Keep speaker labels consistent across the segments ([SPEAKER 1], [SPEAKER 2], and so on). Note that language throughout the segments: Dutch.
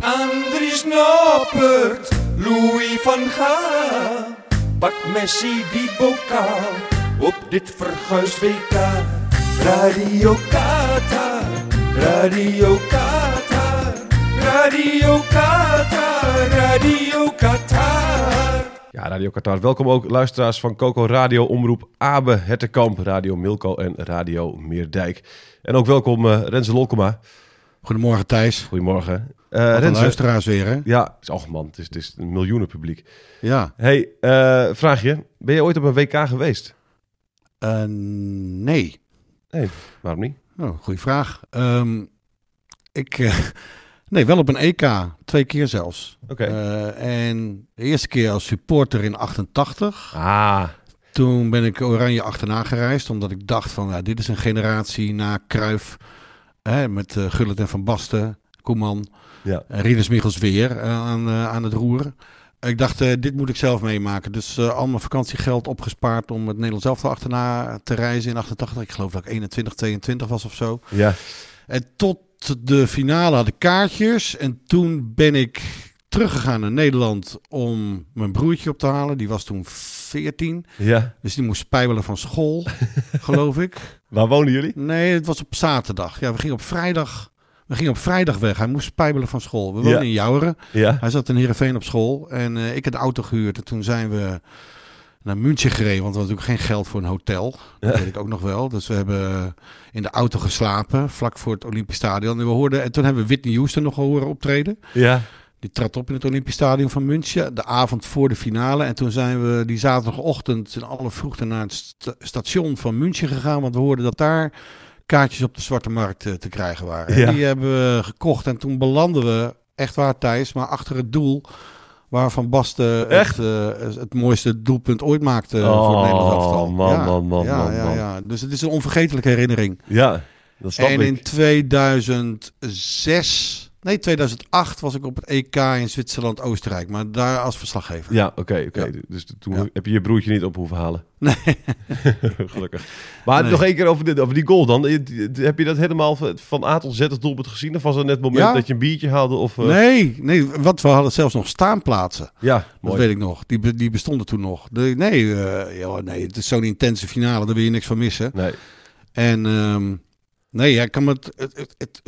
[SPEAKER 1] Andries Noppert, Louis van Gaal. Pak Messi die bokaal op dit verguis WK. Radio Qatar, Radio Qatar, Radio Qatar, Radio Qatar.
[SPEAKER 2] Ja, Radio Qatar. Welkom ook luisteraars van Coco Radio, Omroep Abe, Hertekamp, Radio Milko en Radio Meerdijk. En ook welkom eh Renze Lolkema.
[SPEAKER 3] Goedemorgen Thijs.
[SPEAKER 2] Goedemorgen. Eh,
[SPEAKER 3] Wat een
[SPEAKER 2] Renze.
[SPEAKER 3] luisteraars weer hè?
[SPEAKER 2] Ja, het is, oh man, het is, het is een miljoenen publiek.
[SPEAKER 3] Ja.
[SPEAKER 2] hey, eh, vraagje. Ben je ooit op een WK geweest?
[SPEAKER 3] Eh, nee.
[SPEAKER 2] Nee, waarom niet?
[SPEAKER 3] Oh, goeie vraag. Ehm, ik, eh, nee, wel op een EK. Twee keer zelfs.
[SPEAKER 2] Oké.
[SPEAKER 3] Eh, en de eerste keer als supporter in 88.
[SPEAKER 2] ah,
[SPEAKER 3] Toen ben ik Oranje achterna gereisd. Omdat ik dacht van, nou, dit is een generatie na Kruif. Hè, met eh Gullit en Van Basten, Koeman.
[SPEAKER 2] ja.
[SPEAKER 3] Uh, Rinus Michels weer eh, aan, eh, aan het roer. Ik dacht, eh, dit moet ik zelf meemaken. Dus eh, al mijn vakantiegeld opgespaard om het Nederlands elftal achterna te reizen in 88. Ik geloof dat ik 21, 22 was of zo.
[SPEAKER 2] Ja.
[SPEAKER 3] En tot de finale had ik kaartjes. En toen ben ik teruggegaan naar Nederland om mijn broertje op te halen. Die was toen 14.
[SPEAKER 2] Ja.
[SPEAKER 3] Dus die moest spijbelen van school, geloof ik.
[SPEAKER 2] Waar wonen jullie?
[SPEAKER 3] Nee, het was op zaterdag. Ja, we gingen op vrijdag, we gingen op vrijdag weg. Hij moest spijbelen van school. We
[SPEAKER 2] Ja.
[SPEAKER 3] woonden in Jouweren.
[SPEAKER 2] Ja.
[SPEAKER 3] Hij zat in Heerenveen op school en eh, ik had de auto gehuurd. En toen zijn we naar München gereden, want we hadden natuurlijk geen geld voor een hotel. Dat weet ik ook nog wel. Dus we hebben in de auto geslapen, vlak voor het Olympisch Stadion. En, we hoorden, en toen hebben we Whitney Houston nog horen optreden.
[SPEAKER 2] Ja.
[SPEAKER 3] Die trad op in het Olympisch Stadion van München, de avond voor de finale. En toen zijn we die zaterdagochtend in alle vroegte naar het st- station van München gegaan. Want we hoorden dat daar kaartjes op de Zwarte Markt eh, te krijgen waren.
[SPEAKER 2] Ja.
[SPEAKER 3] En die hebben we gekocht en toen belanden we, echt waar Thijs, maar achter het doel... Waar Van Basten
[SPEAKER 2] Echt?
[SPEAKER 3] het, eh, het mooiste doelpunt ooit maakte eh, voor
[SPEAKER 2] Oh,
[SPEAKER 3] het Nederlands elftal.
[SPEAKER 2] man, man, man,
[SPEAKER 3] ja,
[SPEAKER 2] man,
[SPEAKER 3] ja,
[SPEAKER 2] man.
[SPEAKER 3] ja. Dus het is een onvergetelijke herinnering
[SPEAKER 2] Ja. Dat snap
[SPEAKER 3] en
[SPEAKER 2] ik.
[SPEAKER 3] in 2006, nee 2008 was ik op het EK in Zwitserland-Oostenrijk, maar daar als verslaggever.
[SPEAKER 2] Ja, oké, oké.
[SPEAKER 3] Ja.
[SPEAKER 2] Dus toen
[SPEAKER 3] Ja.
[SPEAKER 2] heb je je broertje niet op hoeven halen.
[SPEAKER 3] Nee.
[SPEAKER 2] Gelukkig. Maar
[SPEAKER 3] Nee.
[SPEAKER 2] nog één keer over, dit, over die goal dan. Heb je dat helemaal van A tot Z het doelpunt gezien? Of was er net het moment
[SPEAKER 3] Ja.
[SPEAKER 2] dat je een biertje haalde? Of, eh,
[SPEAKER 3] Nee, nee, want we hadden zelfs nog staanplaatsen.
[SPEAKER 2] Ja,
[SPEAKER 3] Dat
[SPEAKER 2] mooi.
[SPEAKER 3] weet ik nog. Die, be- die bestonden toen nog. De- nee, eh, joh, nee, het is zo'n intense finale, daar wil je niks van missen.
[SPEAKER 2] Nee.
[SPEAKER 3] En ehm, nee, ja, ik kan me het, het, het- het-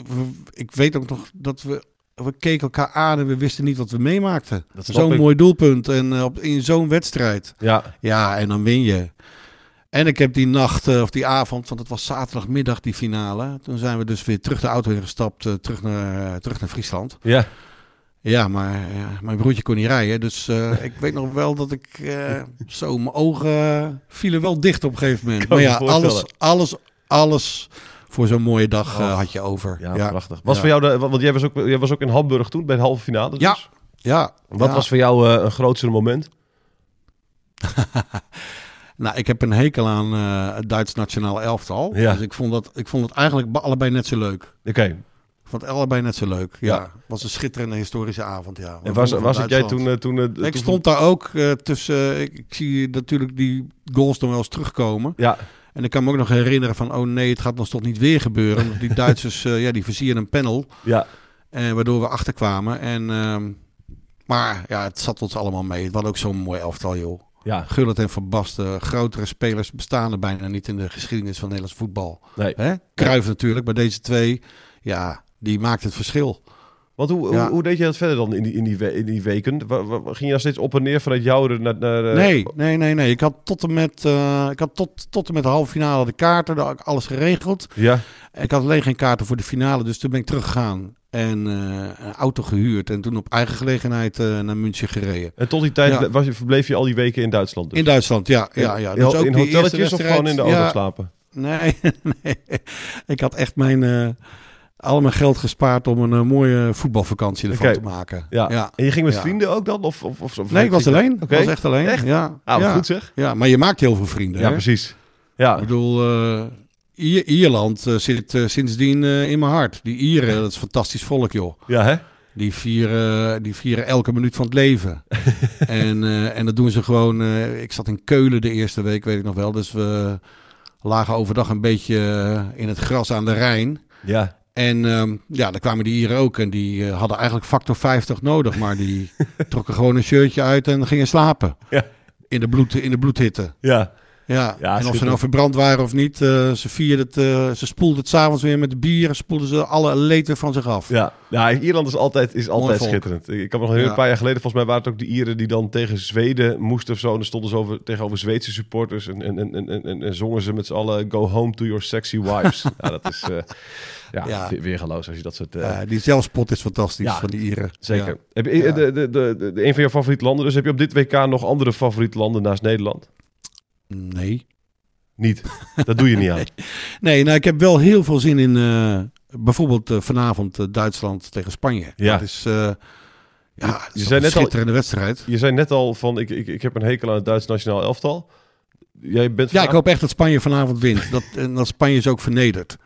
[SPEAKER 3] ik weet ook nog dat we, we keken elkaar aan en we wisten niet wat we meemaakten.
[SPEAKER 2] Dat snap
[SPEAKER 3] Zo'n
[SPEAKER 2] ik.
[SPEAKER 3] mooi doelpunt en eh, op, in zo'n wedstrijd.
[SPEAKER 2] Ja,
[SPEAKER 3] Ja, en dan win je. En ik heb die nacht, eh, of die avond, want het was zaterdagmiddag die finale. Toen zijn we dus weer terug de auto ingestapt, eh, terug, naar, eh, terug naar Friesland.
[SPEAKER 2] ja.
[SPEAKER 3] Ja, maar eh, mijn broertje kon niet rijden. Dus eh, ik weet nog wel dat ik eh, zo, mijn ogen eh, vielen wel dicht op een gegeven moment.
[SPEAKER 2] Kan
[SPEAKER 3] maar
[SPEAKER 2] me
[SPEAKER 3] ja, alles,
[SPEAKER 2] voorstellen.
[SPEAKER 3] alles, alles voor zo'n mooie dag eh,
[SPEAKER 2] Oh.
[SPEAKER 3] had je over.
[SPEAKER 2] ja,
[SPEAKER 3] ja.
[SPEAKER 2] prachtig. Was
[SPEAKER 3] Ja.
[SPEAKER 2] voor jou, de, want jij was, ook, jij was ook in Hamburg toen, bij de halve finale.
[SPEAKER 3] Ja.
[SPEAKER 2] Dus.
[SPEAKER 3] Ja,
[SPEAKER 2] Wat
[SPEAKER 3] ja.
[SPEAKER 2] was voor jou eh, een grootste moment?
[SPEAKER 3] Nou, ik heb een hekel aan eh, het Duits nationaal elftal.
[SPEAKER 2] Ja.
[SPEAKER 3] Dus ik vond, dat, ik vond het eigenlijk be- allebei net zo leuk.
[SPEAKER 2] Oké,
[SPEAKER 3] Ik vond het allebei net zo leuk. Ja.
[SPEAKER 2] Ja.
[SPEAKER 3] was een schitterende historische avond. Ja.
[SPEAKER 2] en was,
[SPEAKER 3] Van
[SPEAKER 2] was het jij toen...
[SPEAKER 3] Duitsland.
[SPEAKER 2] eh, toen eh,
[SPEAKER 3] ik
[SPEAKER 2] toen-
[SPEAKER 3] stond daar ook eh, tussen. ik, ik zie natuurlijk die goals dan wel eens terugkomen.
[SPEAKER 2] Ja,
[SPEAKER 3] En ik kan me ook nog herinneren van: oh nee, het gaat ons toch niet weer gebeuren. Want die Duitsers, eh, ja, die versieren een panel.
[SPEAKER 2] ja,
[SPEAKER 3] eh, waardoor we achterkwamen. En, ehm, maar ja, het zat ons allemaal mee. Het was ook zo'n mooi elftal, joh.
[SPEAKER 2] ja.
[SPEAKER 3] Gullit en Van Basten, grotere spelers bestaan er bijna niet in de geschiedenis van Nederlands voetbal.
[SPEAKER 2] Nee.
[SPEAKER 3] Hè? Cruijff natuurlijk, maar deze twee, ja, die maakt het verschil.
[SPEAKER 2] Want hoe, hoe,
[SPEAKER 3] Ja.
[SPEAKER 2] hoe deed je dat verder dan in die, in die, we- in die weken? Wa- wa- ging je dan steeds op en neer vanuit Jouren naar... naar eh,
[SPEAKER 3] Nee, nee, nee, nee. Ik had tot en met, eh, ik had tot, tot en met de halve finale de kaarten, daar had ik alles geregeld.
[SPEAKER 2] Ja,
[SPEAKER 3] Ik had alleen geen kaarten voor de finale, dus toen ben ik teruggegaan en eh, een auto gehuurd. En toen op eigen gelegenheid eh, naar München gereden.
[SPEAKER 2] en tot die tijd
[SPEAKER 3] Ja.
[SPEAKER 2] ble- was je, verbleef je al die weken in Duitsland dus?
[SPEAKER 3] In Duitsland, ja. ja, ja.
[SPEAKER 2] In-
[SPEAKER 3] Dus
[SPEAKER 2] in,
[SPEAKER 3] ook die eerste
[SPEAKER 2] hotelletjes of gewoon in de auto
[SPEAKER 3] wedstrijd, ja,
[SPEAKER 2] slapen?
[SPEAKER 3] Nee, nee, ik had echt mijn, eh, al mijn geld gespaard om een eh, mooie voetbalvakantie ervan
[SPEAKER 2] Oké.
[SPEAKER 3] te maken.
[SPEAKER 2] Ja. En je ging met
[SPEAKER 3] Ja.
[SPEAKER 2] vrienden ook dan? Of, of, of, of-
[SPEAKER 3] Nee, ik was alleen. Ik
[SPEAKER 2] Oké.
[SPEAKER 3] was echt alleen.
[SPEAKER 2] Echt?
[SPEAKER 3] Ja.
[SPEAKER 2] Ah, wat
[SPEAKER 3] ja.
[SPEAKER 2] goed zeg.
[SPEAKER 3] ja, maar je maakt heel veel vrienden.
[SPEAKER 2] Ja,
[SPEAKER 3] hè?
[SPEAKER 2] precies.
[SPEAKER 3] Ik
[SPEAKER 2] Ja,
[SPEAKER 3] bedoel, eh, Ier- Ierland eh, zit eh, sindsdien eh, in mijn hart. Die Ieren, dat is een fantastisch volk, joh.
[SPEAKER 2] ja hè?
[SPEAKER 3] Die vieren, die vieren elke minuut van het leven. en, eh, en dat doen ze gewoon. eh, ik zat in Keulen de eerste week, weet ik nog wel. Dus we lagen overdag een beetje eh, in het gras aan de Rijn.
[SPEAKER 2] Ja.
[SPEAKER 3] En ehm, ja, daar kwamen die Ieren ook. En die eh, hadden eigenlijk factor 50 nodig. Maar die trokken gewoon een shirtje uit en gingen slapen.
[SPEAKER 2] Ja.
[SPEAKER 3] In, de bloed, in de bloedhitte.
[SPEAKER 2] Ja.
[SPEAKER 3] Ja,
[SPEAKER 2] Ja,
[SPEAKER 3] en of ze
[SPEAKER 2] schitterend.
[SPEAKER 3] nou verbrand waren of niet, eh, ze vierden het, eh, ze spoelden het s'avonds weer met de bieren, spoelden ze alle leed weer van zich af.
[SPEAKER 2] Ja, ja Ierland is altijd, is altijd
[SPEAKER 3] volk.
[SPEAKER 2] schitterend. Ik ik kan me nog heel
[SPEAKER 3] Ja.
[SPEAKER 2] een paar jaar geleden, volgens mij waren het ook de Ieren die dan tegen Zweden moesten of zo. En dan stonden ze over, tegenover Zweedse supporters en, en, en, en, en, en zongen ze met z'n allen Go home to your sexy wives. ja, dat is eh ja,
[SPEAKER 3] Ja.
[SPEAKER 2] we- weergaloos als je dat soort... eh,
[SPEAKER 3] Ja, die zelfspot is fantastisch
[SPEAKER 2] Ja,
[SPEAKER 3] van die Ieren.
[SPEAKER 2] Zeker.
[SPEAKER 3] Ja.
[SPEAKER 2] Heb je, eh, de, de, de, de- een van jouw favoriete landen, dus heb je op dit WK nog andere favoriete landen naast Nederland?
[SPEAKER 3] Nee.
[SPEAKER 2] Niet. Dat doe je niet aan.
[SPEAKER 3] Nee, nou ik heb wel heel veel zin in eh, bijvoorbeeld eh, vanavond eh, Duitsland tegen Spanje.
[SPEAKER 2] Ja.
[SPEAKER 3] Dat is, eh, ja, dat is
[SPEAKER 2] zei net
[SPEAKER 3] toch een
[SPEAKER 2] al-
[SPEAKER 3] schitterende wedstrijd.
[SPEAKER 2] Je zei net al van, ik, ik, ik heb een hekel aan het Duits nationaal elftal. Jij bent
[SPEAKER 3] Ja,
[SPEAKER 2] van-
[SPEAKER 3] ik hoop echt dat Spanje vanavond wint. Dat, en dat Spanje is ook vernederd.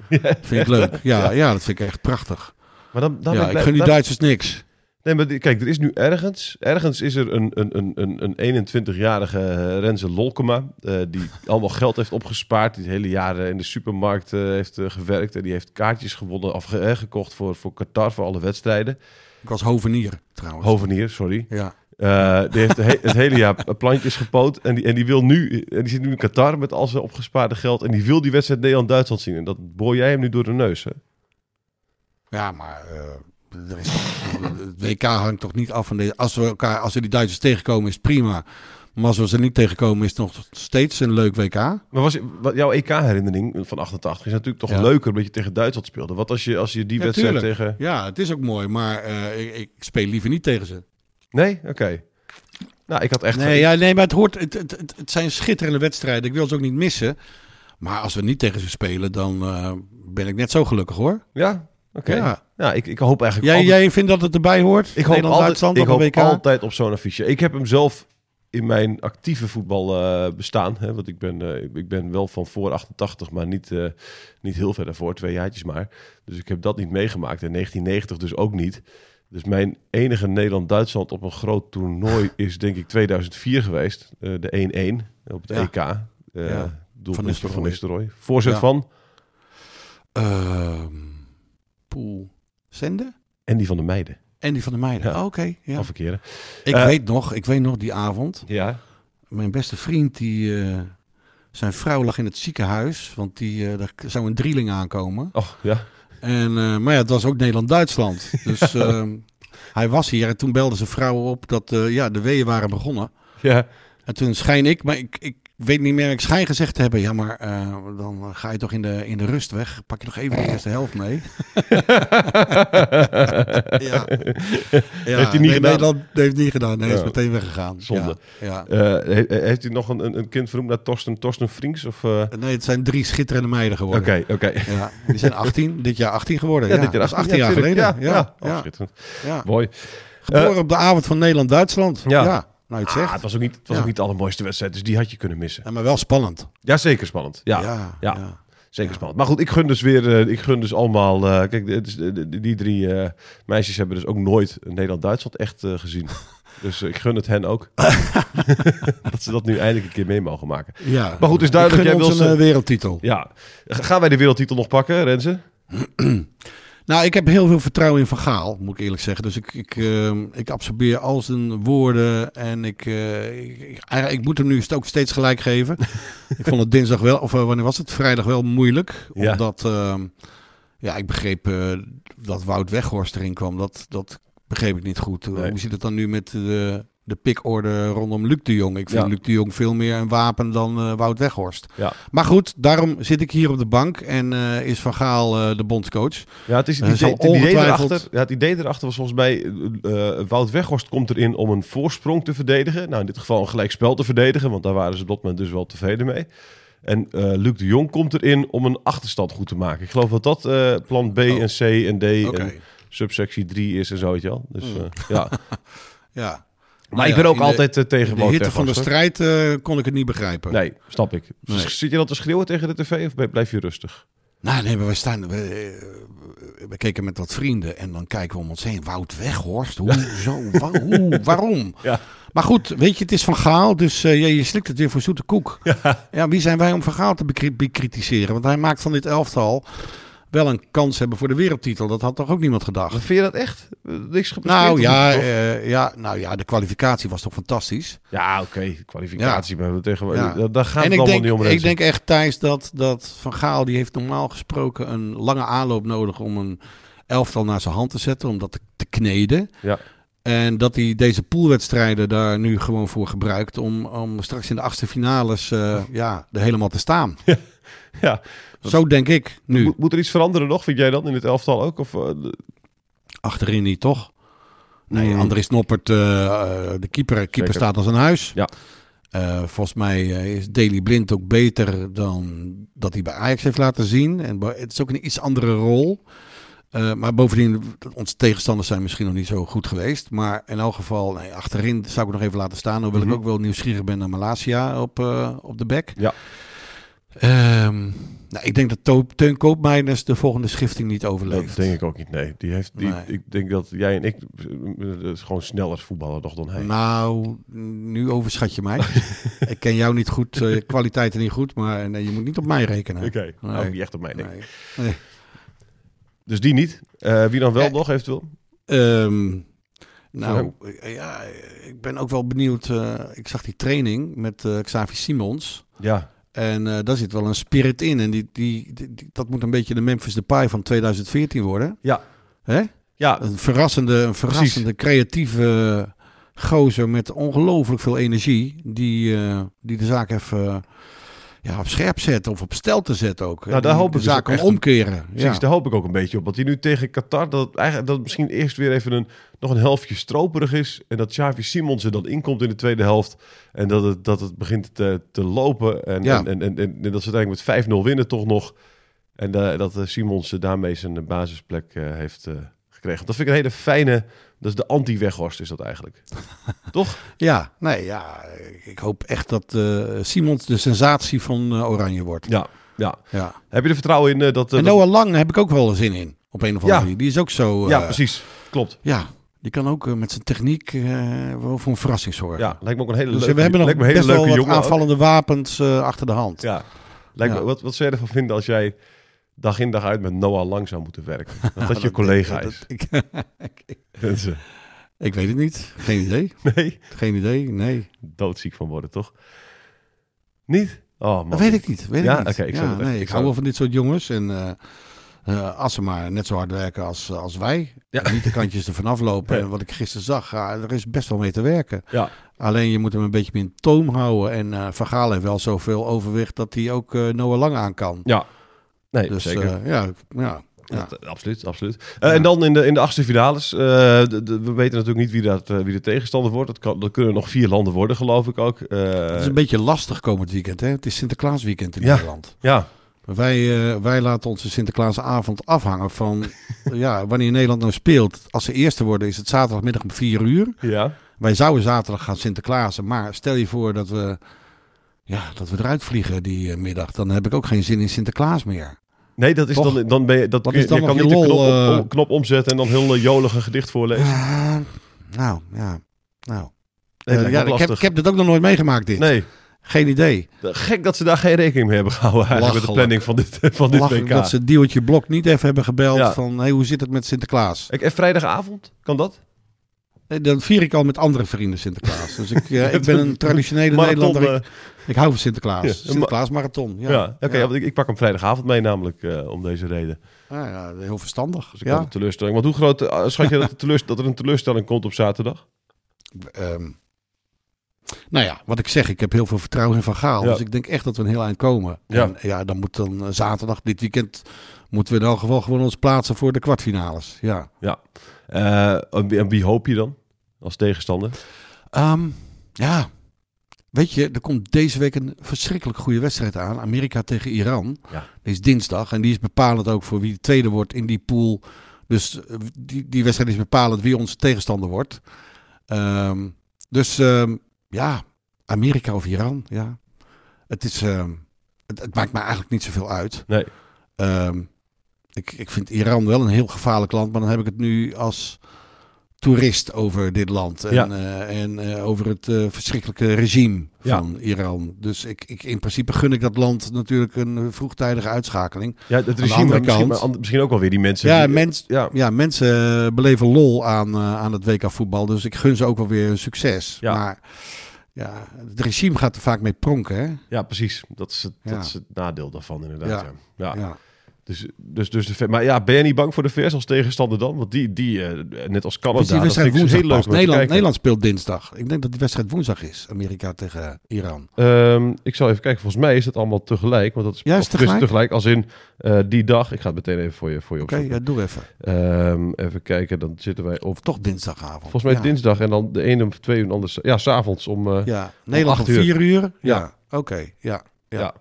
[SPEAKER 3] vind ik leuk. Ja, ja. dat vind ik echt prachtig.
[SPEAKER 2] Maar dan, dan
[SPEAKER 3] Ja,
[SPEAKER 2] ben
[SPEAKER 3] ik
[SPEAKER 2] blij-
[SPEAKER 3] gun die
[SPEAKER 2] dan-
[SPEAKER 3] Duitsers niks.
[SPEAKER 2] Nee, maar die- kijk, er is nu ergens... Ergens is er een, een, een, een, een 21-jarige eh, Renze Lolkema... eh, die allemaal geld heeft opgespaard. Die de hele jaren in de supermarkt eh, heeft eh, gewerkt. En die heeft kaartjes gewonnen of ge- eh, gekocht voor, voor Qatar, voor alle wedstrijden.
[SPEAKER 3] Ik was hovenier trouwens.
[SPEAKER 2] Hovenier, sorry.
[SPEAKER 3] ja.
[SPEAKER 2] Eh, die heeft de he- het hele jaar eh, plantjes gepoot. En die, en die wil nu... En die zit nu in Qatar met al zijn opgespaarde geld. En die wil die wedstrijd Nederland-Duitsland zien. En dat boor jij hem nu door de neus, hè?
[SPEAKER 3] Ja, maar eh, er is toch- het WK hangt toch niet af van deze. Als we elkaar, als we die Duitsers tegenkomen, is het prima. Maar als we ze niet tegenkomen, is het nog steeds een leuk WK.
[SPEAKER 2] Maar was, wat- jouw EK-herinnering van 88 is natuurlijk toch
[SPEAKER 3] Ja.
[SPEAKER 2] leuker dat je tegen Duitsland speelde. Wat als je, als je die
[SPEAKER 3] Ja,
[SPEAKER 2] wedstrijd
[SPEAKER 3] tuurlijk.
[SPEAKER 2] tegen...
[SPEAKER 3] Ja, het is ook mooi, maar eh, ik, ik speel liever niet tegen ze.
[SPEAKER 2] Nee? Oké. Nou, ik had echt...
[SPEAKER 3] Nee, ja, nee maar het, hoort, het, het, het- het zijn schitterende wedstrijden. Ik wil ze ook niet missen. Maar als we niet tegen ze spelen, dan eh, ben ik net zo gelukkig hoor.
[SPEAKER 2] Ja? Oké. Ja.
[SPEAKER 3] Ja.
[SPEAKER 2] ik, ik hoop eigenlijk...
[SPEAKER 3] Jij,
[SPEAKER 2] altijd-
[SPEAKER 3] jij vindt dat het erbij hoort?
[SPEAKER 2] ik hoop, altijd,
[SPEAKER 3] Nederland-Duitsland
[SPEAKER 2] ik
[SPEAKER 3] op een
[SPEAKER 2] hoop
[SPEAKER 3] WK?
[SPEAKER 2] altijd op zo'n affiche. Ik heb hem zelf in mijn actieve voetbal eh, bestaan. Hè, want ik ben, eh, ik- ik ben wel van voor 88, maar niet, eh, niet heel ver daarvoor. Twee jaartjes maar. Dus ik heb dat niet meegemaakt. En 1990 dus ook niet. Dus mijn enige Nederland-Duitsland op een groot toernooi is denk ik 2004 geweest. Eh, de 1-1 op het
[SPEAKER 3] Ja.
[SPEAKER 2] EK. Eh
[SPEAKER 3] Ja.
[SPEAKER 2] Van
[SPEAKER 3] Nistelrooy.
[SPEAKER 2] Van Nistelrooy. Voorzet
[SPEAKER 3] Ja.
[SPEAKER 2] van
[SPEAKER 3] Ehm, Poel. Zenden?
[SPEAKER 2] en die van de meiden.
[SPEAKER 3] En die van de meiden.
[SPEAKER 2] Ja.
[SPEAKER 3] Oh, Oké, ja.
[SPEAKER 2] Afverkeren.
[SPEAKER 3] Ik
[SPEAKER 2] Eh,
[SPEAKER 3] weet nog, ik weet nog die avond.
[SPEAKER 2] Ja.
[SPEAKER 3] Mijn beste vriend, die, eh, zijn vrouw lag in het ziekenhuis, want die, eh, daar zou een drieling aankomen.
[SPEAKER 2] Oh, ja.
[SPEAKER 3] En, eh, maar ja, het was ook Nederland-Duitsland. Dus ehm, hij was hier en toen belde zijn vrouw op dat eh, ja, de weeën waren begonnen.
[SPEAKER 2] Ja.
[SPEAKER 3] En toen schijn ik, maar ik, ik weet niet meer, ik schijn gezegd te hebben, ja maar eh, dan ga je toch in de, in de rust weg. Pak je nog even de eerste helft mee. Ja.
[SPEAKER 2] Heeft hij niet gedaan?
[SPEAKER 3] Nee, dat heeft hij niet gedaan. Nee, hij is
[SPEAKER 2] Ja.
[SPEAKER 3] meteen weggegaan.
[SPEAKER 2] Zonde.
[SPEAKER 3] Ja. ja.
[SPEAKER 2] Eh, he- heeft u nog een, een- een kind vernoemd naar Torsten, Torsten Frings? Of, eh, Oké,
[SPEAKER 3] Nee, het zijn drie schitterende meiden geworden.
[SPEAKER 2] oké.
[SPEAKER 3] Ja, die zijn 18, dit jaar 18 geworden. Ja,
[SPEAKER 2] dit
[SPEAKER 3] dat is 18 jaar
[SPEAKER 2] tuurlijk.
[SPEAKER 3] geleden. Ja,
[SPEAKER 2] Ja, ja.
[SPEAKER 3] ja,
[SPEAKER 2] Oh, schitterend.
[SPEAKER 3] ja.
[SPEAKER 2] Mooi.
[SPEAKER 3] Geboren op de avond van Nederland-Duitsland.
[SPEAKER 2] Ja.
[SPEAKER 3] Ja. nou je het
[SPEAKER 2] Ah,
[SPEAKER 3] zegt.
[SPEAKER 2] het was ook niet, het was
[SPEAKER 3] Ja.
[SPEAKER 2] ook niet de allermooiste wedstrijd, dus die had je kunnen missen.
[SPEAKER 3] Ja, maar wel spannend.
[SPEAKER 2] Ja, zeker spannend. Ja,
[SPEAKER 3] Ja, ja.
[SPEAKER 2] ja. zeker spannend. Maar goed, ik gun dus weer, eh, ik gun dus allemaal... eh, kijk, het is- de- de- die drie eh, meisjes hebben dus ook nooit Nederland-Duitsland echt eh, gezien. Dus eh, ik gun het hen ook. dat ze dat nu eindelijk een keer mee mogen maken.
[SPEAKER 3] Ja.
[SPEAKER 2] Maar goed, het is duidelijk,
[SPEAKER 3] Ik gun
[SPEAKER 2] jij
[SPEAKER 3] ons
[SPEAKER 2] wil
[SPEAKER 3] een
[SPEAKER 2] ze-
[SPEAKER 3] eh, wereldtitel.
[SPEAKER 2] Ja. G- Gaan wij de wereldtitel nog pakken, Renze?
[SPEAKER 3] Nou, ik heb heel veel vertrouwen in Van Gaal, moet ik eerlijk zeggen. Dus ik, ik, ehm, ik absorbeer al zijn woorden. En ik, eh, ik, ik- eigenlijk- ik moet hem nu st- ook steeds gelijk geven. ik vond het dinsdag wel, of eh, wanneer was het? Vrijdag wel moeilijk.
[SPEAKER 2] Ja.
[SPEAKER 3] Omdat, ehm, Ja, ik begreep eh, dat Wout Weghorst erin kwam. Dat, dat begreep ik niet goed.
[SPEAKER 2] Nee.
[SPEAKER 3] Hoe zit het dan nu met de, de pickorde rondom Luc de Jong? Ik vind
[SPEAKER 2] Ja.
[SPEAKER 3] Luc de Jong veel meer een wapen dan eh, Wout Weghorst.
[SPEAKER 2] Ja.
[SPEAKER 3] Maar goed, daarom zit ik hier op de bank en eh, is Van Gaal eh, de bondscoach.
[SPEAKER 2] Ja, het is het
[SPEAKER 3] Eh,
[SPEAKER 2] idee,
[SPEAKER 3] zal
[SPEAKER 2] het idee
[SPEAKER 3] ongetwijfeld-
[SPEAKER 2] erachter. Ja, het idee erachter was volgens mij. eh, eh, Wout Weghorst komt erin om een voorsprong te verdedigen. Nou, in dit geval een gelijkspel te verdedigen, want daar waren ze op dat moment dus wel tevreden mee. En eh, Luc de Jong komt erin om een achterstand goed te maken. Ik geloof dat dat eh, plan B
[SPEAKER 3] Oh.
[SPEAKER 2] en C en D
[SPEAKER 3] Oké,
[SPEAKER 2] en subsectie 3 is en zo, weet je wel. Dus,
[SPEAKER 3] Hmm.
[SPEAKER 2] eh, ja. Maar,
[SPEAKER 3] ja.
[SPEAKER 2] ik ben
[SPEAKER 3] ja,
[SPEAKER 2] ook
[SPEAKER 3] in de-
[SPEAKER 2] altijd eh, tegen
[SPEAKER 3] De
[SPEAKER 2] Wout
[SPEAKER 3] hitte van de
[SPEAKER 2] Weghorst, hoor.
[SPEAKER 3] strijd eh, kon ik het niet begrijpen.
[SPEAKER 2] Nee, snap ik.
[SPEAKER 3] Nee.
[SPEAKER 2] Zit je dan te schreeuwen tegen de tv of ben- blijf je rustig?
[SPEAKER 3] Nou, nee, maar we staan. We, eh, we keken met wat vrienden en dan kijken we om ons heen. Wout Weghorst, hoezo? Wa- hoe, waarom?
[SPEAKER 2] Ja.
[SPEAKER 3] Maar goed, weet je, het is van Gaal, dus eh, ja, je slikt het weer voor zoete koek. Ja. wie zijn wij om van Gaal te bekri- bekritiseren? Want hij maakt van dit elftal wel een kans hebben voor de wereldtitel. Dat had toch ook niemand gedacht?
[SPEAKER 2] Vind je dat echt? Eh, Niks gepresteerd?
[SPEAKER 3] Nou
[SPEAKER 2] of
[SPEAKER 3] ja,
[SPEAKER 2] niet, toch?
[SPEAKER 3] eh, ja, nou ja, de kwalificatie was toch fantastisch?
[SPEAKER 2] Ja, oké. Kwalificatie. Maar we tegen,
[SPEAKER 3] Ja.
[SPEAKER 2] daar, daar gaat
[SPEAKER 3] en
[SPEAKER 2] het
[SPEAKER 3] ik
[SPEAKER 2] allemaal
[SPEAKER 3] denk,
[SPEAKER 2] niet om.
[SPEAKER 3] ik
[SPEAKER 2] mensen.
[SPEAKER 3] denk echt, Thijs, dat, dat Van Gaal die heeft normaal gesproken een lange aanloop nodig om een elftal naar zijn hand te zetten, om dat te, te kneden.
[SPEAKER 2] Ja.
[SPEAKER 3] En dat hij deze poolwedstrijden daar nu gewoon voor gebruikt om, om straks in de achtste finales eh, ja, er helemaal te staan.
[SPEAKER 2] Ja.
[SPEAKER 3] Zo denk ik nu.
[SPEAKER 2] Moet, moet er iets veranderen nog, vind jij dan, in het elftal ook? Of, eh, de-
[SPEAKER 3] Achterin niet, toch? Nee,
[SPEAKER 2] Mm.
[SPEAKER 3] Andries Noppert, eh, eh, de keeper, keeper
[SPEAKER 2] Zeker.
[SPEAKER 3] staat als een huis.
[SPEAKER 2] Ja.
[SPEAKER 3] Eh, volgens mij eh, is Daley Blind ook beter dan dat hij bij Ajax heeft laten zien. En bo- het is ook een iets andere rol. Eh, maar bovendien, onze tegenstanders zijn misschien nog niet zo goed geweest. Maar in elk geval, nee, achterin zou ik nog even laten staan. Hoewel
[SPEAKER 2] Mhm.
[SPEAKER 3] ik ook wel nieuwsgierig ben naar Malasia op, eh, op de bek.
[SPEAKER 2] Ja.
[SPEAKER 3] Ehm, nou, ik denk dat To- Teun Koopmeiners de volgende schifting niet overleeft.
[SPEAKER 2] dat denk ik ook niet. Nee, die heeft, die,
[SPEAKER 3] Nee.
[SPEAKER 2] ik denk dat jij en ik eh, eh, gewoon sneller voetballen nog dan hij.
[SPEAKER 3] Nou, nu overschat je mij. ik ken jou niet goed, eh, kwaliteiten niet goed, maar eh, nee, je moet niet op mij rekenen.
[SPEAKER 2] Oké, nou,
[SPEAKER 3] Nee.
[SPEAKER 2] niet echt op mij. denk ik.
[SPEAKER 3] Nee.
[SPEAKER 2] Dus die niet. Eh, wie dan wel
[SPEAKER 3] Eh.
[SPEAKER 2] nog eventueel?
[SPEAKER 3] Ehm, nou, ja, ik ben ook wel benieuwd. eh, ik zag die training met eh, Xavi Simons.
[SPEAKER 2] Ja.
[SPEAKER 3] En eh, daar zit wel een spirit in. En die, die, die- die- dat moet een beetje de Memphis Depay van 2014 worden.
[SPEAKER 2] Ja.
[SPEAKER 3] Hè?
[SPEAKER 2] Ja,
[SPEAKER 3] Een verrassende, een verrassende creatieve gozer met ongelooflijk veel energie. Die, eh, die de zaak even eh, ja, op scherp zet of op stel te zetten ook.
[SPEAKER 2] Nou, daar
[SPEAKER 3] En
[SPEAKER 2] hoop
[SPEAKER 3] de
[SPEAKER 2] ik dus
[SPEAKER 3] zaak
[SPEAKER 2] ook
[SPEAKER 3] kan
[SPEAKER 2] echt op.
[SPEAKER 3] omkeren.
[SPEAKER 2] precies.
[SPEAKER 3] ja.
[SPEAKER 2] Daar hoop ik ook een beetje op. Want die nu tegen Qatar, dat, het eigenlijk, dat het misschien eerst weer even een, nog een helftje stroperig is. En dat Xavi Simons er dan inkomt in de tweede helft. En dat het, dat het begint te, te lopen. En,
[SPEAKER 3] Ja.
[SPEAKER 2] en, en, en, en dat ze uiteindelijk met 5-0 winnen toch nog. En eh, dat eh, Simons eh, daarmee zijn basisplek eh, heeft eh, gekregen. Dat vind ik een hele fijne... Dat is de anti-Weghorst is dat eigenlijk. toch?
[SPEAKER 3] ja, nee, ja. Ik hoop echt dat eh Simons de sensatie van eh, Oranje wordt.
[SPEAKER 2] Ja. ja.
[SPEAKER 3] Ja.
[SPEAKER 2] Heb je er vertrouwen in eh, dat... eh,
[SPEAKER 3] En
[SPEAKER 2] dat-
[SPEAKER 3] Noah Lang heb ik ook wel zin in. Op een of andere
[SPEAKER 2] Ja.
[SPEAKER 3] manier. Die is ook zo. eh,
[SPEAKER 2] Ja, precies. Klopt.
[SPEAKER 3] ja, die kan ook eh, met zijn techniek eh, wel voor een verrassing zorgen.
[SPEAKER 2] Ja, lijkt me ook een hele
[SPEAKER 3] Dus
[SPEAKER 2] leuke
[SPEAKER 3] we hebben nog
[SPEAKER 2] lijkt me een hele
[SPEAKER 3] best wel
[SPEAKER 2] leuke
[SPEAKER 3] wat
[SPEAKER 2] jongen ook.
[SPEAKER 3] aanvallende wapens eh, achter de hand.
[SPEAKER 2] Ja. Lijkt me,
[SPEAKER 3] Ja.
[SPEAKER 2] wat, wat zou je ervan vinden als jij dag in dag uit met Noah Lang zou moeten werken? Dat dat je collega
[SPEAKER 3] Dat-
[SPEAKER 2] is.
[SPEAKER 3] ik, ik-
[SPEAKER 2] En ze-
[SPEAKER 3] ik weet het niet. Geen idee.
[SPEAKER 2] Nee,
[SPEAKER 3] Geen idee. Nee.
[SPEAKER 2] doodziek van worden, toch? Niet? Oh man.
[SPEAKER 3] Dat weet ik niet. Weet
[SPEAKER 2] Ja,
[SPEAKER 3] ik niet.
[SPEAKER 2] oké, ik
[SPEAKER 3] Ja,
[SPEAKER 2] zou het echt-
[SPEAKER 3] nee,
[SPEAKER 2] ik
[SPEAKER 3] ik
[SPEAKER 2] zou-
[SPEAKER 3] hou wel van dit soort jongens. En eh, eh, als ze maar net zo hard werken als, eh, als wij.
[SPEAKER 2] Ja.
[SPEAKER 3] en Niet de kantjes ervan aflopen.
[SPEAKER 2] Nee.
[SPEAKER 3] En wat ik gisteren zag, ja, er is best wel mee te werken.
[SPEAKER 2] Ja.
[SPEAKER 3] Alleen je moet hem een beetje in toom houden. En eh Van Gaal heeft wel zoveel overwicht dat hij ook eh, Noah Lang aan kan.
[SPEAKER 2] Ja. Nee,
[SPEAKER 3] dus
[SPEAKER 2] zeker.
[SPEAKER 3] eh, ja, ja. ja.
[SPEAKER 2] Dat- absoluut, absoluut. Eh, En dan in de, in de achtste finales. eh, de- de- we weten natuurlijk niet wie, dat, eh, wie de tegenstander wordt. Dat, kan, dat kunnen nog vier landen worden, geloof ik ook. Eh,
[SPEAKER 3] Het is een beetje lastig komend weekend. Hè? Het is Sinterklaasweekend in
[SPEAKER 2] Ja.
[SPEAKER 3] Nederland.
[SPEAKER 2] ja,
[SPEAKER 3] Wij, eh, wij laten onze Sinterklaasavond afhangen van ja, wanneer Nederland nou speelt. Als ze eerste worden is het zaterdagmiddag om vier uur.
[SPEAKER 2] ja.
[SPEAKER 3] Wij zouden zaterdag gaan Sinterklaasen. Maar stel je voor dat we, ja, dat we eruit vliegen die eh, middag. Dan heb ik ook geen zin in Sinterklaas meer.
[SPEAKER 2] Nee, dat is
[SPEAKER 3] Toch?
[SPEAKER 2] dan, dan ben je, dat
[SPEAKER 3] Wat
[SPEAKER 2] kun je,
[SPEAKER 3] is dan
[SPEAKER 2] je
[SPEAKER 3] nog
[SPEAKER 2] kan
[SPEAKER 3] je
[SPEAKER 2] niet de
[SPEAKER 3] lol,
[SPEAKER 2] knop, om-
[SPEAKER 3] eh?
[SPEAKER 2] om- knop omzetten en dan heel eh, jolig een gedicht voorlezen.
[SPEAKER 3] Eh, nou, ja. Nou.
[SPEAKER 2] Nee, dat
[SPEAKER 3] Eh,
[SPEAKER 2] lijkt me
[SPEAKER 3] ja,
[SPEAKER 2] ook
[SPEAKER 3] ik, heb, ik
[SPEAKER 2] lastig.
[SPEAKER 3] heb dit ook nog nooit meegemaakt dit.
[SPEAKER 2] Nee,
[SPEAKER 3] Geen idee.
[SPEAKER 2] gek dat ze daar geen rekening mee hebben gehouden eigenlijk met de planning
[SPEAKER 3] Belachelijk.
[SPEAKER 2] van dit, eh, van dit
[SPEAKER 3] Lachen
[SPEAKER 2] WK.
[SPEAKER 3] dat ze Diewertje Blok niet even hebben gebeld
[SPEAKER 2] Ja.
[SPEAKER 3] van hey, hoe zit het met Sinterklaas?
[SPEAKER 2] Ik, en vrijdagavond, kan dat?
[SPEAKER 3] Nee, Dan vier ik al met andere vrienden Sinterklaas. Dus ik, eh, ik ben een traditionele
[SPEAKER 2] Marathon,
[SPEAKER 3] Nederlander. Ik,
[SPEAKER 2] eh,
[SPEAKER 3] ik hou van Sinterklaas.
[SPEAKER 2] Ja, een ma-
[SPEAKER 3] Sinterklaas marathon. Ja,
[SPEAKER 2] ja, oké. ja, want ik, ik pak hem vrijdagavond mee namelijk eh, om deze reden.
[SPEAKER 3] Ah, ja, heel verstandig.
[SPEAKER 2] Dus ik had
[SPEAKER 3] ja.
[SPEAKER 2] een teleurstelling. Want hoe groot eh, schat je dat, de teleurs- dat er een teleurstelling komt op zaterdag?
[SPEAKER 3] Ehm, nou ja, wat ik zeg, ik heb heel veel vertrouwen in Van Gaal.
[SPEAKER 2] Ja.
[SPEAKER 3] Dus ik denk echt dat we een heel eind komen.
[SPEAKER 2] Ja.
[SPEAKER 3] En ja, dan moet dan eh, zaterdag, dit weekend, moeten we in elk geval gewoon ons plaatsen voor de kwartfinales. Ja.
[SPEAKER 2] Eh, en, wie- en wie hoop je dan als tegenstander?
[SPEAKER 3] Ehm, ja, weet je, er komt deze week een verschrikkelijk goede wedstrijd aan. Amerika tegen Iran.
[SPEAKER 2] Ja.
[SPEAKER 3] Die is dinsdag en die is bepalend ook voor wie de tweede wordt in die pool. Dus eh, die, die wedstrijd is bepalend wie onze tegenstander wordt. Ehm, dus ehm, ja, Amerika of Iran, ja. Het, is, ehm, het, het maakt me eigenlijk niet zoveel uit.
[SPEAKER 2] Nee.
[SPEAKER 3] Ehm, ik, ik vind Iran wel een heel gevaarlijk land, maar dan heb ik het nu als toerist over dit land. En,
[SPEAKER 2] Ja.
[SPEAKER 3] eh, en eh, over het eh, verschrikkelijke regime
[SPEAKER 2] Ja.
[SPEAKER 3] van Iran. Dus ik, ik, in principe gun ik dat land natuurlijk een eh, vroegtijdige uitschakeling.
[SPEAKER 2] Ja, het regime,
[SPEAKER 3] andere
[SPEAKER 2] maar misschien,
[SPEAKER 3] kant-
[SPEAKER 2] maar an- misschien ook alweer die mensen.
[SPEAKER 3] Ja,
[SPEAKER 2] die-
[SPEAKER 3] mens-
[SPEAKER 2] ja,
[SPEAKER 3] Ja, mensen eh, beleven lol aan, eh, aan het WK voetbal. Dus ik gun ze ook wel weer een succes.
[SPEAKER 2] Ja.
[SPEAKER 3] Maar ja, het regime gaat er vaak mee pronken. Hè?
[SPEAKER 2] ja, precies. Dat is, het,
[SPEAKER 3] Ja.
[SPEAKER 2] dat is het nadeel daarvan inderdaad. Ja.
[SPEAKER 3] Ja.
[SPEAKER 2] Ja.
[SPEAKER 3] Ja.
[SPEAKER 2] Dus, dus, dus de, ver- maar ja, ben je niet bang voor de VS als tegenstander dan? Want die, die eh, net als Canada,
[SPEAKER 3] Dus die
[SPEAKER 2] dat vind
[SPEAKER 3] wedstrijd
[SPEAKER 2] ik
[SPEAKER 3] woensdag
[SPEAKER 2] heel leuk
[SPEAKER 3] pas.
[SPEAKER 2] om te
[SPEAKER 3] Nederland,
[SPEAKER 2] kijken.
[SPEAKER 3] Nederland speelt dinsdag. Ik denk dat die wedstrijd woensdag is. Amerika tegen Iran.
[SPEAKER 2] Ehm, ik zal even kijken. Volgens mij is dat allemaal tegelijk. Want dat is,
[SPEAKER 3] Ja, is
[SPEAKER 2] of het
[SPEAKER 3] tegelijk.
[SPEAKER 2] als in eh, die dag. Ik ga het meteen even voor je, voor je
[SPEAKER 3] Oké,
[SPEAKER 2] opzoeken.
[SPEAKER 3] ja, doe even.
[SPEAKER 2] Ehm, even kijken, dan zitten wij op...
[SPEAKER 3] Of toch dinsdagavond.
[SPEAKER 2] Volgens mij
[SPEAKER 3] ja.
[SPEAKER 2] dinsdag en dan de ene om twee uur, en de ander... Ja, s'avonds om... eh, ja.
[SPEAKER 3] Ja, Nederland om
[SPEAKER 2] acht uur.
[SPEAKER 3] vier uur. Ja,
[SPEAKER 2] Ja.
[SPEAKER 3] oké. Ja. ja.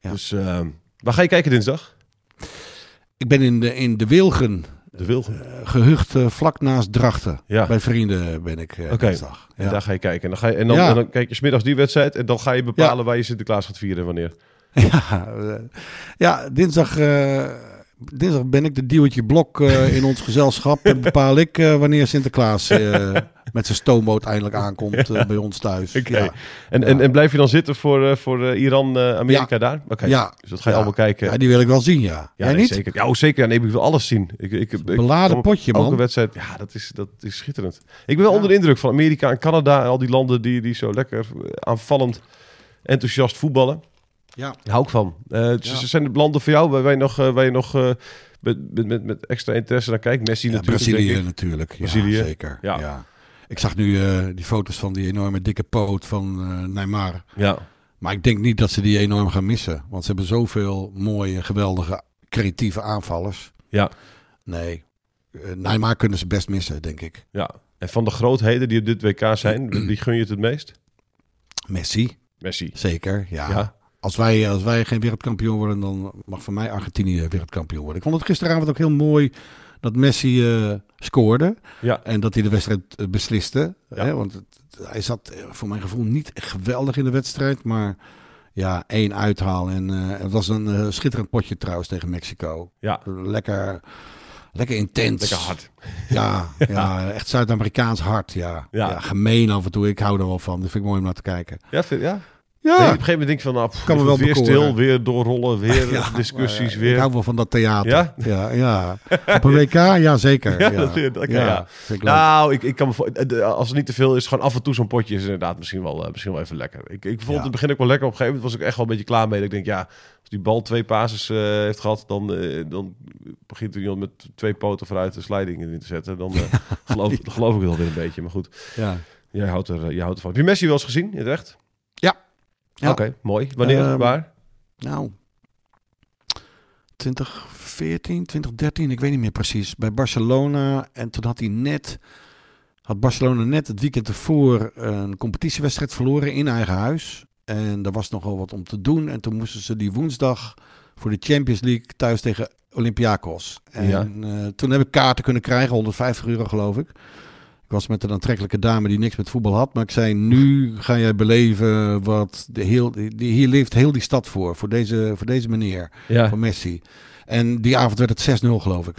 [SPEAKER 3] Ja.
[SPEAKER 2] Dus ehm, waar ga je kijken dinsdag?
[SPEAKER 3] Ik ben in de, in de Wilgen,
[SPEAKER 2] De Wilgen.
[SPEAKER 3] eh, gehucht eh, vlak naast Drachten.
[SPEAKER 2] ja,
[SPEAKER 3] Bij vrienden ben ik eh
[SPEAKER 2] Oké.
[SPEAKER 3] dinsdag.
[SPEAKER 2] en
[SPEAKER 3] Ja.
[SPEAKER 2] daar ga je kijken. En dan, ga je, en dan,
[SPEAKER 3] Ja.
[SPEAKER 2] en dan kijk je smiddags die wedstrijd en dan ga je bepalen waar je Sinterklaas gaat vieren en wanneer.
[SPEAKER 3] Ja, eh, ja dinsdag, eh, dinsdag ben ik de duwtje blok eh, in ons gezelschap. En bepaal ik eh, wanneer Sinterklaas eh, met zijn stoomboot eindelijk aankomt eh, bij ons thuis.
[SPEAKER 2] Oké.
[SPEAKER 3] Ja.
[SPEAKER 2] En,
[SPEAKER 3] Ja.
[SPEAKER 2] en, en blijf je dan zitten voor, eh, voor eh, Iran, eh, Amerika daar? Oké,
[SPEAKER 3] Ja.
[SPEAKER 2] dus dat ga je
[SPEAKER 3] Ja.
[SPEAKER 2] allemaal kijken.
[SPEAKER 3] ja, die wil ik wel zien, ja.
[SPEAKER 2] Ja,
[SPEAKER 3] Jij
[SPEAKER 2] nee,
[SPEAKER 3] niet?
[SPEAKER 2] Zeker. Ja, oh, zeker. Ja, Nee, ik wil alles zien. Ik, ik, ik,
[SPEAKER 3] Beladen
[SPEAKER 2] ik-
[SPEAKER 3] potje,
[SPEAKER 2] elke
[SPEAKER 3] man.
[SPEAKER 2] wedstrijd. Ja, dat is, dat is schitterend. Ik ben wel
[SPEAKER 3] Ja.
[SPEAKER 2] onder de indruk van Amerika en Canada en al die landen die, die zo lekker eh, aanvallend enthousiast voetballen.
[SPEAKER 3] Ja.
[SPEAKER 2] Daar hou ik van. Eh, dus
[SPEAKER 3] Ja.
[SPEAKER 2] ze Zijn het landen voor jou waar wij nog, eh, waar je nog eh, met, met, met, met extra interesse naar kijkt? Messi
[SPEAKER 3] Ja,
[SPEAKER 2] natuurlijk.
[SPEAKER 3] Brazilië
[SPEAKER 2] denk ik.
[SPEAKER 3] natuurlijk. Ja,
[SPEAKER 2] Brazilië.
[SPEAKER 3] zeker.
[SPEAKER 2] Ja.
[SPEAKER 3] Ja. Ik zag nu eh, die foto's van die enorme dikke poot van eh, Neymar.
[SPEAKER 2] Ja.
[SPEAKER 3] Maar ik denk niet dat ze die enorm gaan missen. Want ze hebben zoveel mooie, geweldige, creatieve aanvallers.
[SPEAKER 2] Ja.
[SPEAKER 3] Nee, Eh, Neymar kunnen ze best missen, denk ik.
[SPEAKER 2] ja. En van de grootheden die op dit WK zijn, wie gun je het het meest?
[SPEAKER 3] Messi,
[SPEAKER 2] Messi.
[SPEAKER 3] zeker. Ja.
[SPEAKER 2] Ja.
[SPEAKER 3] Als, wij, eh, als wij geen wereldkampioen worden, dan mag van mij Argentinië wereldkampioen worden. Ik vond het gisteravond ook heel mooi dat Messi eh, scoorde.
[SPEAKER 2] Ja.
[SPEAKER 3] En dat hij de wedstrijd eh, besliste.
[SPEAKER 2] Ja.
[SPEAKER 3] Hè? Want het- hij zat eh, voor mijn gevoel niet echt geweldig in de wedstrijd. Maar ja, één uithaal. En eh, het was een eh, schitterend potje trouwens tegen Mexico.
[SPEAKER 2] Ja.
[SPEAKER 3] Lekker, lekker intens.
[SPEAKER 2] Lekker hard.
[SPEAKER 3] Ja, ja echt Zuid-Amerikaans hard. Ja.
[SPEAKER 2] Ja.
[SPEAKER 3] Ja. gemeen af en toe. Ik hou er wel van. Dat vind ik mooi om naar te kijken.
[SPEAKER 2] Ja, vind, ja.
[SPEAKER 3] Ja,
[SPEAKER 2] Nee, op een gegeven moment denk ik van, nou, pff,
[SPEAKER 3] Ah. Kan me
[SPEAKER 2] even
[SPEAKER 3] wel
[SPEAKER 2] weer
[SPEAKER 3] bekoren.
[SPEAKER 2] stil, weer doorrollen, weer discussies,
[SPEAKER 3] maar, eh,
[SPEAKER 2] weer...
[SPEAKER 3] Ik hou wel van dat theater.
[SPEAKER 2] Ja?
[SPEAKER 3] Ja, ja. Op een WK? Ja, zeker.
[SPEAKER 2] Ja,
[SPEAKER 3] Ja,
[SPEAKER 2] dat vind ik- oké, ja.
[SPEAKER 3] vind ik leuk.
[SPEAKER 2] Nou, ik, ik kan me voor- eh, de- als het niet te veel is, gewoon af en toe zo'n potje is inderdaad misschien wel, eh, misschien wel even lekker. Ik, ik vond het in
[SPEAKER 3] Ja.
[SPEAKER 2] het begin ook wel lekker. Op een gegeven moment was ik echt wel een beetje klaar mee. Dat ik denk, ja, als die bal twee pases eh, heeft gehad, dan, eh, dan begint er iemand met twee poten vooruit de sliding in te zetten. Dan eh, geloof, geloof ik het alweer een beetje. Maar goed,
[SPEAKER 3] Ja.
[SPEAKER 2] jij houdt, er, eh, jij houdt ervan. Heb je Messi wel eens gezien in het echt?
[SPEAKER 3] Ja. Ja.
[SPEAKER 2] Oké, mooi. Wanneer,
[SPEAKER 3] Ehm,
[SPEAKER 2] waar?
[SPEAKER 3] Nou, 2014, 2013, ik weet niet meer precies. Bij Barcelona. En toen had hij net. Had Barcelona net het weekend ervoor een competitiewedstrijd verloren in eigen huis. En daar was nogal wat om te doen. En toen moesten ze die woensdag voor de Champions League thuis tegen Olympiakos. En
[SPEAKER 2] Ja.
[SPEAKER 3] eh, toen heb ik kaarten kunnen krijgen, 150 euro geloof ik. Ik was met een aantrekkelijke dame die niks met voetbal had. Maar ik zei, nu ga jij beleven wat... De heel, die, die- hier leeft heel die stad voor, voor deze, voor deze meneer,
[SPEAKER 2] Ja.
[SPEAKER 3] voor Messi. En die avond werd het 6-0 geloof ik,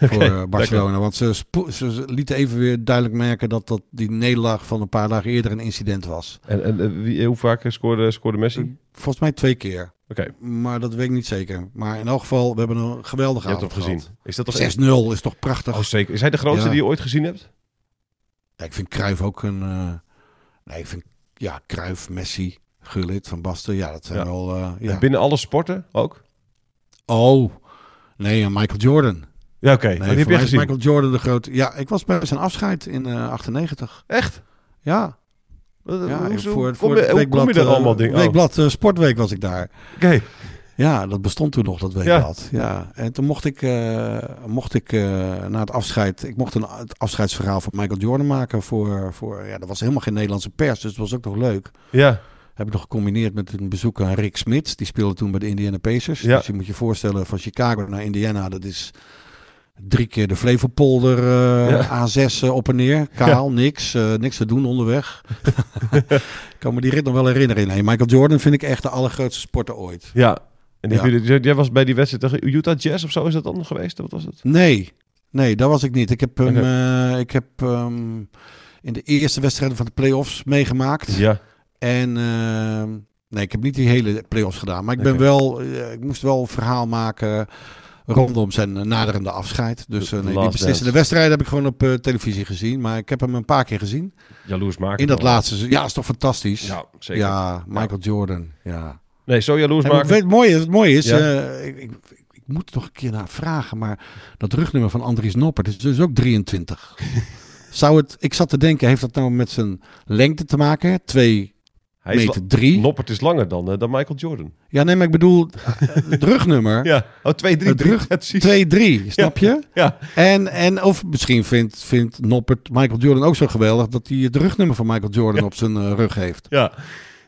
[SPEAKER 3] voor eh, Barcelona. Want ze, spo- ze ze lieten even weer duidelijk merken dat, dat die nederlaag van een paar dagen eerder een incident was.
[SPEAKER 2] En, en eh, wie, hoe vaak scoorde, scoorde Messi? Oké,
[SPEAKER 3] Volgens mij twee keer,
[SPEAKER 2] je
[SPEAKER 3] maar dat weet ik niet zeker. Maar in elk geval, we hebben een geweldige
[SPEAKER 2] hebt hem
[SPEAKER 3] avond
[SPEAKER 2] gezien.
[SPEAKER 3] gehad.
[SPEAKER 2] Is dat toch
[SPEAKER 3] 6-0 is toch prachtig?
[SPEAKER 2] Oh, zeker. Is hij de grootste
[SPEAKER 3] Ja.
[SPEAKER 2] die je ooit gezien hebt?
[SPEAKER 3] Ja, ik vind Cruijff ook een... eh, nee, ik vind... Ja, Cruijff, Messi, Gullit, Van Basten. Ja, dat zijn
[SPEAKER 2] Ja.
[SPEAKER 3] wel... eh, ja.
[SPEAKER 2] En binnen alle sporten ook?
[SPEAKER 3] Oh, nee, en Michael Jordan.
[SPEAKER 2] Ja, oké.
[SPEAKER 3] Nee,
[SPEAKER 2] die heb
[SPEAKER 3] voor
[SPEAKER 2] je
[SPEAKER 3] mij is
[SPEAKER 2] gezien.
[SPEAKER 3] Michael Jordan de grote... Ja, ik was bij zijn afscheid in eh 98.
[SPEAKER 2] Echt?
[SPEAKER 3] Ja,
[SPEAKER 2] Wat-
[SPEAKER 3] ja
[SPEAKER 2] hoezo-
[SPEAKER 3] voor,
[SPEAKER 2] kom
[SPEAKER 3] voor
[SPEAKER 2] je-
[SPEAKER 3] het
[SPEAKER 2] hoe kom je daar
[SPEAKER 3] eh,
[SPEAKER 2] allemaal dingen oh. aan?
[SPEAKER 3] Weekblad eh, Sportweek was ik daar.
[SPEAKER 2] Oké.
[SPEAKER 3] Ja, dat bestond toen nog, dat weekblad. Ja. En toen mocht ik, eh, mocht ik eh, na het afscheid... Ik mocht een, het afscheidsverhaal van Michael Jordan maken voor... voor ja, er was helemaal geen Nederlandse pers, dus dat was ook nog leuk.
[SPEAKER 2] Ja.
[SPEAKER 3] Heb ik nog gecombineerd met een bezoek aan Rick Smits. Die speelde toen bij de Indiana Pacers.
[SPEAKER 2] Ja.
[SPEAKER 3] Dus je moet je voorstellen, van Chicago naar Indiana, dat is... Drie keer de Flevopolder eh, A6 eh, op en neer. Kaal, niks. eh, niks te doen onderweg. ik kan me die rit nog wel herinneren. Nee, Michael Jordan vind ik echt de allergrootste sporter ooit.
[SPEAKER 2] Ja. En die
[SPEAKER 3] Ja.
[SPEAKER 2] heb je- jij was bij die wedstrijd tegen Utah Jazz of zo, is dat dan nog geweest? Wat was het?
[SPEAKER 3] Nee, nee, dat was ik niet. Ik heb hem,
[SPEAKER 2] Oké.
[SPEAKER 3] eh, ik heb ehm, in de eerste wedstrijden van de play-offs meegemaakt.
[SPEAKER 2] Ja.
[SPEAKER 3] En ehm, nee, ik heb niet die hele play-offs gedaan. Maar ik ben
[SPEAKER 2] Oké.
[SPEAKER 3] wel, eh, ik moest wel een verhaal maken rondom zijn eh, naderende afscheid. Dus
[SPEAKER 2] De-
[SPEAKER 3] eh,
[SPEAKER 2] de
[SPEAKER 3] nee, die
[SPEAKER 2] last
[SPEAKER 3] beslissende
[SPEAKER 2] dance.
[SPEAKER 3] wedstrijden heb ik gewoon op eh, televisie gezien. Maar ik heb hem een paar keer gezien.
[SPEAKER 2] Jaloers maken.
[SPEAKER 3] In dat laatste, se- ja, is toch fantastisch.
[SPEAKER 2] Ja, zeker.
[SPEAKER 3] Ja, Michael Jordan. Ja.
[SPEAKER 2] Nee, zo jaloers
[SPEAKER 3] En wat,
[SPEAKER 2] maken.
[SPEAKER 3] weet, het mooie, het mooie is,
[SPEAKER 2] Ja.
[SPEAKER 3] eh, ik, ik, ik moet er nog een keer naar vragen, maar dat rugnummer van Andries Noppert is dus ook 23. Zou het, ik zat te denken, heeft dat nou met zijn lengte te maken? 2
[SPEAKER 2] Hij is
[SPEAKER 3] meter 3?
[SPEAKER 2] Noppert is langer dan, eh, dan Michael Jordan.
[SPEAKER 3] Ja, nee, maar ik bedoel het rugnummer.
[SPEAKER 2] Ja. Oh, 2, 3,
[SPEAKER 3] Het
[SPEAKER 2] 3.
[SPEAKER 3] rug- 2-3, snap je?
[SPEAKER 2] Ja.
[SPEAKER 3] En, en of misschien vindt, vindt Noppert Michael Jordan ook zo geweldig dat hij het rugnummer van Michael Jordan op zijn eh, rug heeft.
[SPEAKER 2] Ja.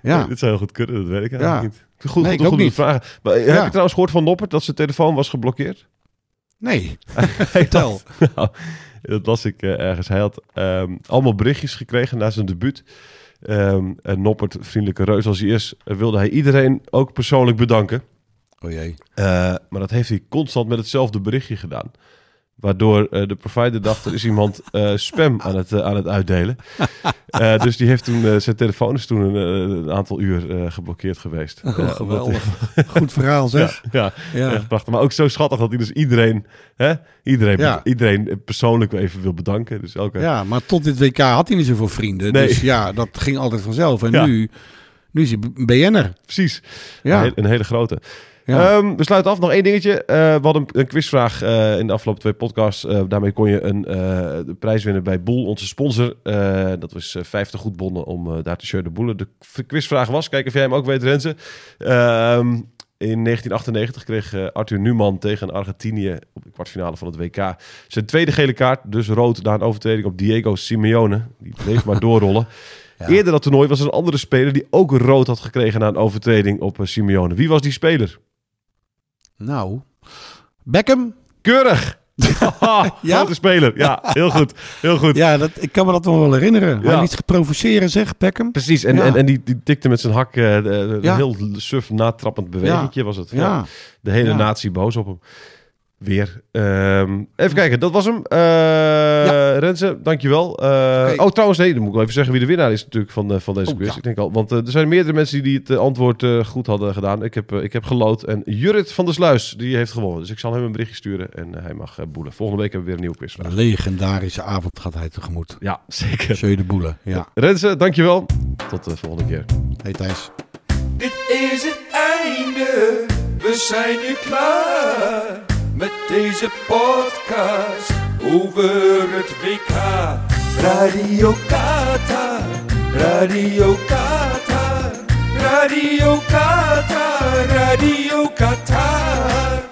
[SPEAKER 3] Ja.
[SPEAKER 2] Dit zou heel goed kunnen, dat weet ik eigenlijk
[SPEAKER 3] Ja.
[SPEAKER 2] niet. Goed, goed,
[SPEAKER 3] Nee, ik
[SPEAKER 2] goed,
[SPEAKER 3] ook
[SPEAKER 2] om te
[SPEAKER 3] niet.
[SPEAKER 2] vragen. Maar, eh,
[SPEAKER 3] Ja.
[SPEAKER 2] Heb je trouwens gehoord van Noppert dat zijn telefoon was geblokkeerd?
[SPEAKER 3] Nee,
[SPEAKER 2] Hij
[SPEAKER 3] vertel.
[SPEAKER 2] had- nou, dat las ik eh, ergens. Hij had ehm, allemaal berichtjes gekregen na zijn debuut. Ehm, en Noppert, vriendelijke reus als hij is, eh, wilde hij iedereen ook persoonlijk bedanken.
[SPEAKER 3] Oh jee.
[SPEAKER 2] Eh, maar dat heeft hij constant met hetzelfde berichtje gedaan. Waardoor eh, de provider dacht, er is iemand eh, spam aan het, eh, aan het uitdelen. Eh, dus die heeft toen, eh, zijn telefoon is toen een, eh, een aantal uur eh, geblokkeerd geweest. Ja,
[SPEAKER 3] Oh,
[SPEAKER 2] omdat
[SPEAKER 3] geweldig. Goed verhaal
[SPEAKER 2] hij-
[SPEAKER 3] zeg.
[SPEAKER 2] ja,
[SPEAKER 3] Ja.
[SPEAKER 2] echt prachtig. eh, Maar ook zo schattig dat hij dus iedereen, hè, iedereen,
[SPEAKER 3] Ja.
[SPEAKER 2] iedereen persoonlijk even wil bedanken. Dus elke,
[SPEAKER 3] Ja, maar tot dit WK had hij niet zoveel vrienden.
[SPEAKER 2] Nee.
[SPEAKER 3] Dus ja, dat ging altijd vanzelf. En
[SPEAKER 2] Ja.
[SPEAKER 3] nu, nu is hij een BN'er.
[SPEAKER 2] precies,
[SPEAKER 3] Ja.
[SPEAKER 2] een, hele- een hele grote.
[SPEAKER 3] Ja.
[SPEAKER 2] Ehm, we sluiten af. Nog één dingetje. Eh, we hadden een, een quizvraag eh, in de afgelopen twee podcasts. Eh, daarmee kon je een eh, de prijs winnen bij Boel, onze sponsor. Eh, dat was eh, 50 goedbonnen om eh, daar te shirt de boelen. De k- quizvraag was, kijk of jij hem ook weet, Renze. Ehm, in 1998 kreeg eh, Arthur Newman tegen Argentinië op de kwartfinale van het WK zijn tweede gele kaart, dus rood, na een overtreding op Diego Simeone. Die bleef maar doorrollen. Eerder dat toernooi was er een andere speler die ook rood had gekregen na een overtreding op eh, Simeone. Wie was die speler?
[SPEAKER 3] Nou, Beckham.
[SPEAKER 2] Keurig. ja? Grote speler. Ja, heel goed. Heel goed.
[SPEAKER 3] Ja, dat, ik kan me dat nog wel herinneren.
[SPEAKER 2] Ja.
[SPEAKER 3] Hij liet zich provoceren, zeg, Beckham.
[SPEAKER 2] Precies. En,
[SPEAKER 3] Ja.
[SPEAKER 2] en, en die, die tikte met zijn hak eh, de- de-
[SPEAKER 3] Ja.
[SPEAKER 2] een heel suf natrappend bewegingje was het.
[SPEAKER 3] Ja,
[SPEAKER 2] Ja. De hele
[SPEAKER 3] Ja.
[SPEAKER 2] natie boos op hem. Weer. Ehm, even kijken, dat was hem. Eh Renze, dankjewel. Eh,
[SPEAKER 3] Oké.
[SPEAKER 2] Oh, trouwens, nee, dan moet ik wel even zeggen wie de winnaar is natuurlijk van, eh, van deze
[SPEAKER 3] Oh,
[SPEAKER 2] quiz.
[SPEAKER 3] ja.
[SPEAKER 2] Ik denk al, want eh, er zijn meerdere mensen die het eh, antwoord eh, goed hadden gedaan. Ik heb, eh, ik heb geloot. En Jurrit van der Sluis, die heeft gewonnen. Dus ik zal hem een berichtje sturen en eh, hij mag eh, boelen. Volgende week hebben we weer een nieuwe quiz.
[SPEAKER 3] Een legendarische avond gaat hij tegemoet.
[SPEAKER 2] Ja, zeker.
[SPEAKER 3] Zeu de boelen. Ja.
[SPEAKER 2] Renze, dankjewel. Tot de volgende keer.
[SPEAKER 3] Hey Thijs.
[SPEAKER 1] Dit is het einde, we zijn nu klaar met deze podcast over het WK. Radio Qatar, Radio Qatar, Radio Qatar, Radio Qatar.